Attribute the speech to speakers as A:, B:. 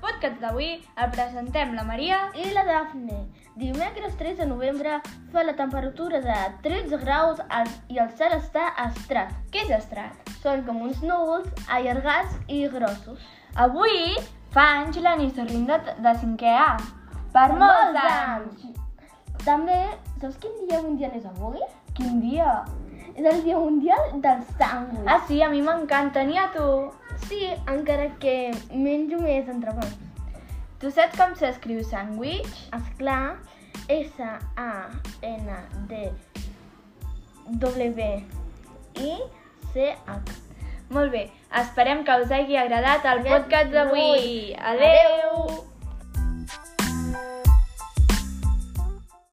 A: podcast d'avui el presentem la Maria
B: i la Dafne. Dimecres 3 de novembre fa la temperatura de 13 graus i el cel està estrat.
A: Què és estrat?
B: Són com uns núvols allargats i grossos.
A: Avui fa anys l'anistorringa de 5è A. Per molts anys!
B: També, saps quin dia mundial és avui?
A: Quin dia?
B: És el dia mundial del sàndwich.
A: Ah, sí, a mi m'encanta, ni a tu.
B: Sí, encara que menjo més entrepans.
A: Tu saps com s'escriu sandwich?
B: Esclar, S-A-N-D-W-I-C-H.
A: Molt bé, esperem que us hagi agradat el podcast d'avui.
B: Adeu!
A: Adeu.
B: Adeu.